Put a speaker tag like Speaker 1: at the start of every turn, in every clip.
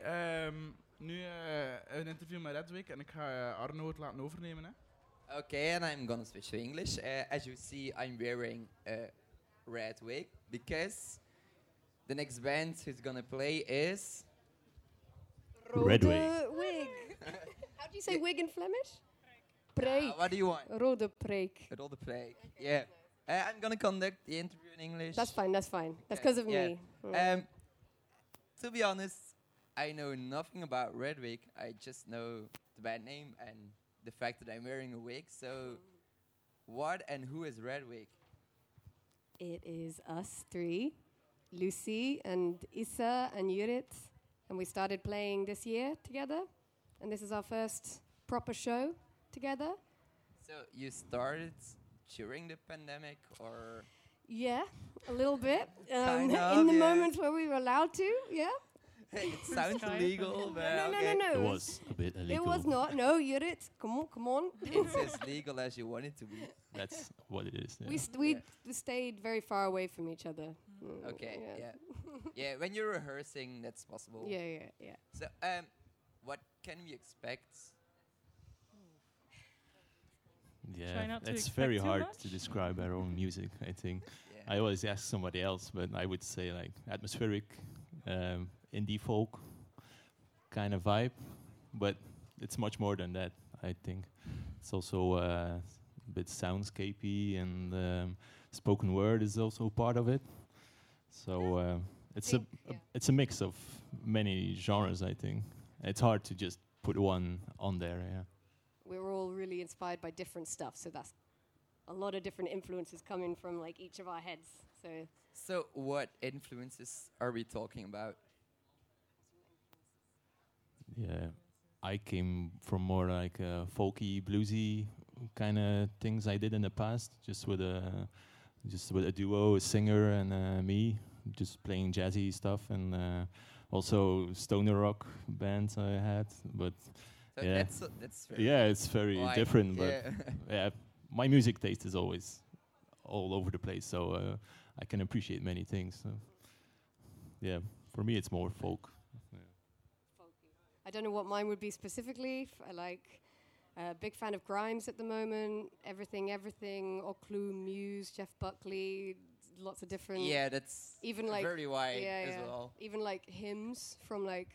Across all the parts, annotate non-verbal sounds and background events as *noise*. Speaker 1: ehm, nu eh, een interview met Redweek en ik ga eh, Arno het laten overnemen. Hè.
Speaker 2: Okay, and I'm gonna switch to English. Uh, as you see, I'm wearing a red wig because the next band who's gonna play is
Speaker 3: Red
Speaker 4: Rode
Speaker 3: wig.
Speaker 4: wig. *laughs* How do you say
Speaker 2: Yeah.
Speaker 4: wig in Flemish?
Speaker 2: Uh,
Speaker 4: Preek.
Speaker 2: what do you want?
Speaker 4: Rode preek.
Speaker 2: Roll the play. Yeah. Uh, I'm gonna conduct the interview in English.
Speaker 4: That's fine, that's fine. That's
Speaker 2: Okay,
Speaker 4: because of
Speaker 2: yeah.
Speaker 4: me. Mm.
Speaker 2: Um, to be honest, I know nothing about Red Wig. I just know the band name and the fact that I'm wearing a wig. So, what and who is Red Wig?
Speaker 4: It is us three, Lucy and Issa and Yurit, and we started playing this year together. And this is our first proper show together.
Speaker 2: So you started during the pandemic, or
Speaker 4: Yeah, a little
Speaker 2: *laughs*
Speaker 4: bit. Um,
Speaker 2: Kind of,
Speaker 4: in the
Speaker 2: yeah.
Speaker 4: moments where we were allowed to, yeah. *laughs*
Speaker 2: it sounds legal, but
Speaker 4: no,
Speaker 2: okay.
Speaker 4: no, no,
Speaker 3: It
Speaker 4: no.
Speaker 3: was a bit illegal.
Speaker 4: It was not. No, Yurit, come on, come on.
Speaker 2: *laughs* it's as legal as you want it to
Speaker 4: *laughs*
Speaker 2: be.
Speaker 3: That's what it is. yeah.
Speaker 4: We, st- we
Speaker 2: Yeah.
Speaker 4: d- stayed very far away from each other. Mm,
Speaker 2: Mm-hmm. Okay, yeah, yeah. when you're rehearsing, that's possible.
Speaker 4: Yeah, yeah, yeah.
Speaker 2: So, um, what can we expect?
Speaker 3: yeah,
Speaker 5: Try not to
Speaker 3: it's
Speaker 5: expect
Speaker 3: very
Speaker 5: too
Speaker 3: hard
Speaker 5: much.
Speaker 3: to describe our own music. I think
Speaker 2: Yeah.
Speaker 3: I always ask somebody else, but I would say like atmospheric, um, indie folk kind of vibe, but it's much more than that. I think it's also uh, a bit soundscapey, and um, spoken word is also part of it. So uh, it's a,
Speaker 4: think,
Speaker 3: a-
Speaker 4: yeah.
Speaker 3: it's a mix of many genres. I think it's hard to just put one on there. Yeah.
Speaker 4: We were all really inspired by different stuff, so that's a lot of different influences coming from like each of our heads. So
Speaker 2: So, what influences are we talking about?
Speaker 3: Yeah, I came from more like uh, folky, bluesy kind of things I did in the past, just with a just with a duo, a singer and uh, me, just playing jazzy stuff and uh, also stoner rock bands I had. But
Speaker 2: So
Speaker 3: Yeah.
Speaker 2: that's that's very
Speaker 3: yeah, it's very
Speaker 2: wide.
Speaker 3: different. But
Speaker 2: Yeah. *laughs*
Speaker 3: yeah, my music taste is always all over the place, so uh, I can appreciate many things. So. Yeah, for me it's more folk.
Speaker 4: I don't know what mine would be specifically. F- I like uh, big fan of Grimes at the moment. Everything, everything. Oclu, Muse, Jeff Buckley, lots of different.
Speaker 2: yeah, that's
Speaker 4: Even like
Speaker 2: very wide
Speaker 4: yeah,
Speaker 2: as
Speaker 4: yeah.
Speaker 2: well.
Speaker 4: Even like hymns from like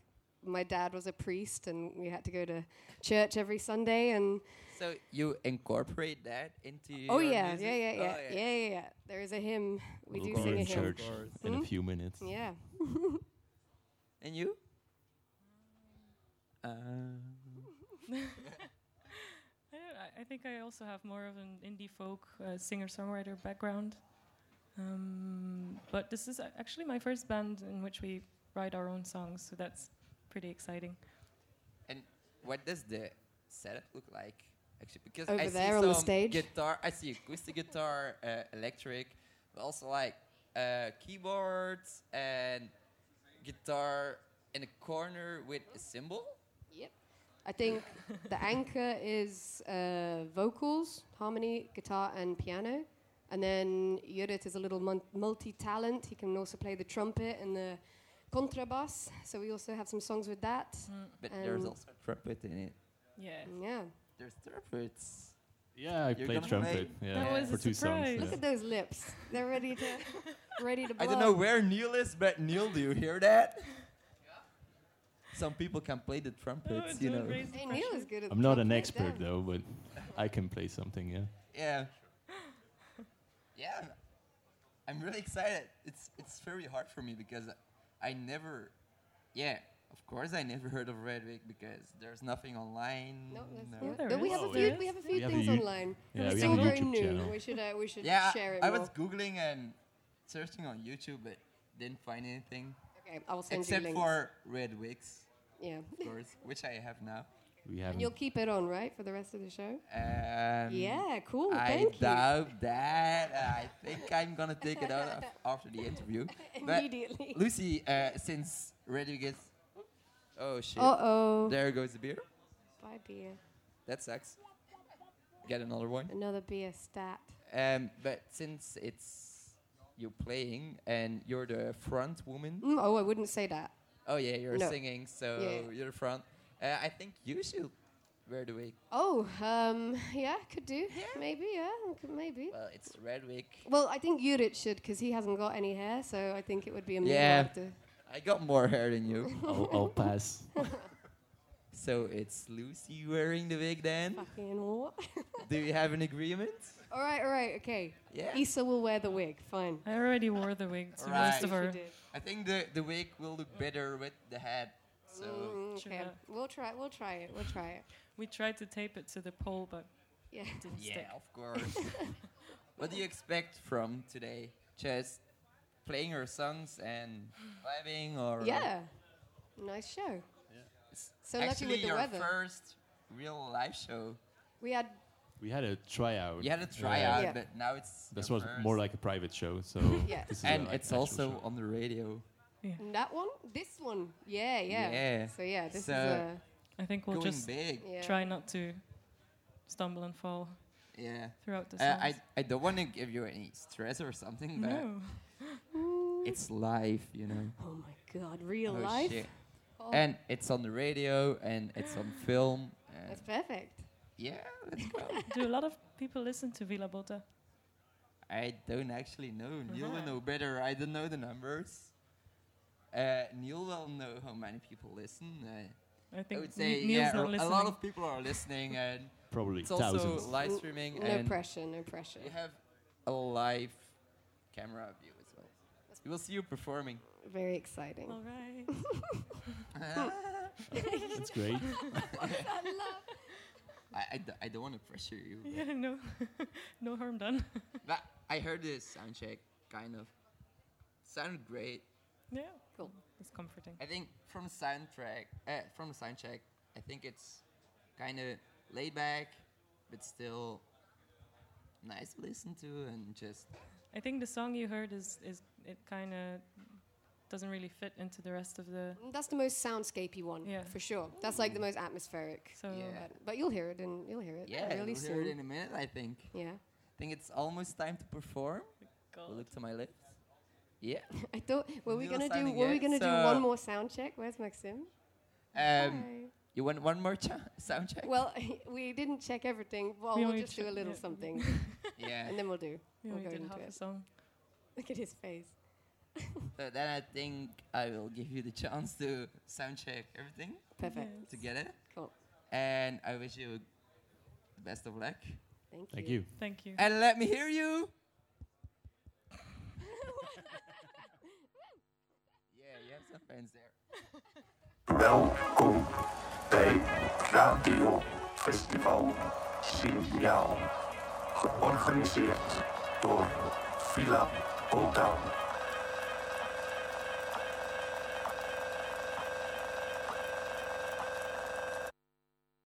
Speaker 4: my dad was a priest and we had to go to church every Sunday and
Speaker 2: So you incorporate that into
Speaker 4: oh
Speaker 2: your
Speaker 4: yeah,
Speaker 2: music?
Speaker 4: yeah, yeah, yeah,
Speaker 2: Oh,
Speaker 4: yeah, yeah, yeah. There is a hymn. We
Speaker 3: We'll
Speaker 4: do
Speaker 3: be
Speaker 4: sing a
Speaker 3: in
Speaker 4: hymn.
Speaker 3: church
Speaker 2: Of course.
Speaker 3: in a
Speaker 4: Hmm?
Speaker 3: few minutes.
Speaker 4: Yeah.
Speaker 2: And you? Uh,
Speaker 5: *laughs* I, don't, I- I think I also have more of an indie folk uh, singer-songwriter background. Um, but this is a- actually my first band in which we write our own songs, so that's pretty exciting.
Speaker 2: And what does the setup look like? Actually, because
Speaker 4: Over
Speaker 2: I see
Speaker 4: there on the
Speaker 2: some
Speaker 4: stage?
Speaker 2: guitar, I see acoustic guitar, uh, electric, but also like uh, keyboards and guitar in a corner with a cymbal.
Speaker 4: Yep. I think
Speaker 2: *laughs*
Speaker 4: the anchor is uh, vocals, harmony, guitar, and piano. And then Judith is a little mun- multi talent. He can also play the trumpet and the contrabass. So we also have some songs with that.
Speaker 2: But there's
Speaker 4: Um,
Speaker 2: also a trumpet in it.
Speaker 5: Yeah.
Speaker 4: Yeah.
Speaker 2: There's trumpets.
Speaker 3: Yeah, I
Speaker 2: You're
Speaker 3: played
Speaker 2: gonna
Speaker 3: trumpet.
Speaker 2: play?
Speaker 3: Yeah,
Speaker 2: That was
Speaker 3: for
Speaker 5: a
Speaker 3: two
Speaker 5: surprise.
Speaker 3: songs.
Speaker 4: Look
Speaker 3: yeah.
Speaker 4: at those lips. They're ready to *laughs* ready to blow.
Speaker 2: I don't know where Neil is, but Neil, do you hear that? Some people can play the trumpets, you
Speaker 5: don't
Speaker 2: know.
Speaker 5: raise the
Speaker 4: Hey, Neil
Speaker 5: pressure.
Speaker 4: is good at
Speaker 3: I'm not an
Speaker 4: trumpet,
Speaker 3: expert
Speaker 4: damn.
Speaker 3: though, but I can play something. Yeah.
Speaker 2: Yeah. Yeah. I'm- I'm really excited. It's it's very hard for me because I never yeah, of course I never *laughs* heard of Redwick because there's nothing online.
Speaker 4: No, that's
Speaker 2: Mm, no-
Speaker 4: yeah.
Speaker 5: there
Speaker 4: But we
Speaker 5: is.
Speaker 4: have
Speaker 3: Oh,
Speaker 4: a few.
Speaker 3: yeah.
Speaker 4: We have a few
Speaker 3: have a
Speaker 4: things
Speaker 3: Yu-
Speaker 4: online.
Speaker 3: yeah,
Speaker 4: it's
Speaker 3: we
Speaker 4: still
Speaker 3: have a
Speaker 4: very
Speaker 3: YouTube
Speaker 4: new.
Speaker 3: channel.
Speaker 4: We should uh, we should
Speaker 2: Yeah,
Speaker 4: share it
Speaker 2: I
Speaker 4: more.
Speaker 2: was googling and searching on YouTube but didn't find anything
Speaker 4: okay, I will send
Speaker 2: except
Speaker 4: you links.
Speaker 2: for Redwicks,
Speaker 4: yeah.
Speaker 2: of course,
Speaker 4: *laughs*
Speaker 2: which I have now.
Speaker 3: We
Speaker 4: And you'll
Speaker 3: haven't.
Speaker 4: keep it on, right, for the rest of the show?
Speaker 2: Um,
Speaker 4: yeah, cool.
Speaker 2: I
Speaker 4: Thank *laughs* you.
Speaker 2: doubt that. uh, I think I'm gonna take it out af- after the
Speaker 4: *laughs*
Speaker 2: interview. But
Speaker 4: Immediately.
Speaker 2: Lucy, uh, since Redwick is, oh shit,
Speaker 4: Uh oh.
Speaker 2: there goes the beer.
Speaker 4: Buy beer.
Speaker 2: That sucks. Get another one.
Speaker 4: Another beer stat.
Speaker 2: Um, but since it's you playing and you're the front woman,
Speaker 4: Mm, oh, I wouldn't say that.
Speaker 2: Oh yeah, you're
Speaker 4: No.
Speaker 2: singing, so
Speaker 4: Yeah.
Speaker 2: you're front. Uh, I think you should Red Week.
Speaker 4: Oh, um, yeah, could do.
Speaker 2: Yeah.
Speaker 4: Maybe, yeah, could- maybe.
Speaker 2: Well, it's Red Week.
Speaker 4: Well, I think Yurit should because he hasn't got any hair, so I think it would be a me who
Speaker 2: Yeah.
Speaker 4: had to-
Speaker 2: I got more hair than you.
Speaker 3: *laughs* I'll, I'll pass.
Speaker 2: So it's Lucy wearing the wig then.
Speaker 4: Fucking what? *laughs*
Speaker 2: Do you have an agreement?
Speaker 4: all right, all right, okay.
Speaker 2: Yeah.
Speaker 4: Issa will wear the wig. Fine.
Speaker 5: I already wore the wig to
Speaker 2: Right.
Speaker 5: most of
Speaker 4: She
Speaker 5: our.
Speaker 4: did.
Speaker 2: I think the, the wig will look better with the hat. So
Speaker 4: Mm,
Speaker 5: Should
Speaker 4: okay,
Speaker 5: not.
Speaker 4: we'll try. We'll try it. We'll try it.
Speaker 5: We tried to tape it to the pole, but
Speaker 4: Yeah.
Speaker 5: it didn't
Speaker 2: yeah,
Speaker 5: stick.
Speaker 2: of course.
Speaker 4: *laughs*
Speaker 2: what do you expect from today? Just playing her songs and vibing, or
Speaker 4: Yeah. Nice show.
Speaker 2: It's
Speaker 4: So lucky
Speaker 2: actually
Speaker 4: with the
Speaker 2: your
Speaker 4: weather.
Speaker 2: first real live show.
Speaker 4: We had
Speaker 3: We had a tryout.
Speaker 2: You had a
Speaker 3: Yeah.
Speaker 2: tryout,
Speaker 4: Yeah.
Speaker 2: but now it's
Speaker 3: This
Speaker 2: your
Speaker 3: was more
Speaker 2: first.
Speaker 3: like a private show, so
Speaker 4: *laughs* Yeah.
Speaker 3: this is a,
Speaker 2: and
Speaker 3: like,
Speaker 2: it's
Speaker 3: actual
Speaker 2: also
Speaker 3: show.
Speaker 2: on the radio.
Speaker 4: that one. This one. Yeah, yeah.
Speaker 2: Yeah.
Speaker 4: So yeah, this
Speaker 2: So-
Speaker 4: is a.
Speaker 5: I think we'll
Speaker 2: Going
Speaker 5: just
Speaker 2: big.
Speaker 4: Yeah.
Speaker 5: try not to stumble and fall
Speaker 2: Yeah.
Speaker 5: throughout the
Speaker 2: Uh,
Speaker 5: songs.
Speaker 2: I, I don't want to give you any stress or something, but
Speaker 5: no.
Speaker 4: Mm.
Speaker 2: it's live, you know.
Speaker 4: Oh my God! Real
Speaker 2: Oh,
Speaker 4: life.
Speaker 2: shit.
Speaker 4: Oh,
Speaker 2: And it's on the radio and it's on film. And
Speaker 4: that's perfect.
Speaker 2: yeah, let's go.
Speaker 5: Do a lot of people listen to Villa Bota?
Speaker 2: I don't actually know. Neil will
Speaker 5: Uh-huh.
Speaker 2: know better. I don't know the numbers. Uh, Neil will know how many people listen. Uh,
Speaker 5: I
Speaker 2: I
Speaker 5: think
Speaker 2: would say
Speaker 5: Ne- Neil's
Speaker 2: yeah,
Speaker 5: not
Speaker 2: a-
Speaker 5: listening.
Speaker 2: a lot of people are listening, and
Speaker 3: probably
Speaker 2: it's
Speaker 3: thousands.
Speaker 2: also live
Speaker 4: N-
Speaker 2: streaming.
Speaker 4: No
Speaker 2: and
Speaker 4: pressure. No pressure.
Speaker 2: You have a live camera view as well. We will see you performing. *laughs*
Speaker 4: Very exciting.
Speaker 5: All right.
Speaker 4: *laughs*
Speaker 3: That's great.
Speaker 2: I, I, d- I don't want to pressure you. but-
Speaker 5: *laughs* yeah, no, no harm done. *laughs*
Speaker 2: But I heard this sound check, kind of. Sounded great.
Speaker 5: Yeah.
Speaker 4: Cool.
Speaker 5: It's comforting.
Speaker 2: I think from the soundtrack, uh, from the sound check, I think it's kind of laid back, but still nice to listen to and just
Speaker 5: I think the song you heard is is it kind of doesn't really fit into the rest of the.
Speaker 4: That's the most soundscapey one,
Speaker 5: Yeah.
Speaker 4: for sure. That's like the most atmospheric.
Speaker 5: So
Speaker 2: Mm. Yeah.
Speaker 4: But, but you'll hear it, and you'll hear it
Speaker 2: yeah.
Speaker 4: Uh, really
Speaker 2: we'll
Speaker 4: soon.
Speaker 2: hear it in a minute. I think.
Speaker 4: yeah,
Speaker 2: I think it's almost time to perform.
Speaker 5: God.
Speaker 2: I'll look to my left. Yeah.
Speaker 4: I thought were
Speaker 2: Neil
Speaker 4: we
Speaker 2: is
Speaker 4: gonna do
Speaker 2: signing
Speaker 4: were we
Speaker 2: it,
Speaker 4: gonna do
Speaker 2: so-
Speaker 4: one more sound check? Where's Maxim?
Speaker 2: Um,
Speaker 4: Hi.
Speaker 2: you want one more cha- sound check?
Speaker 4: Well, *laughs* we didn't check everything. Well,
Speaker 5: We
Speaker 4: we'll
Speaker 5: only
Speaker 4: just do a
Speaker 5: check-
Speaker 4: little
Speaker 5: yeah.
Speaker 2: *laughs*
Speaker 4: something,
Speaker 2: yeah.
Speaker 4: and then we'll do.
Speaker 5: We
Speaker 4: we'll
Speaker 5: only
Speaker 4: go
Speaker 5: did
Speaker 4: into
Speaker 5: half a
Speaker 4: it.
Speaker 5: song.
Speaker 4: Look at his face.
Speaker 2: So then I think I will give you the chance to sound check everything
Speaker 4: Perfect.
Speaker 5: Yes.
Speaker 2: together,
Speaker 4: Cool.
Speaker 2: and I wish you the best of luck.
Speaker 4: Thank you.
Speaker 3: Thank you.
Speaker 5: Thank you.
Speaker 2: And let me hear you. yeah, you have some fans there.
Speaker 6: Welkom bij Radio Festival Signaal. Georganiseerd door Villa Botan.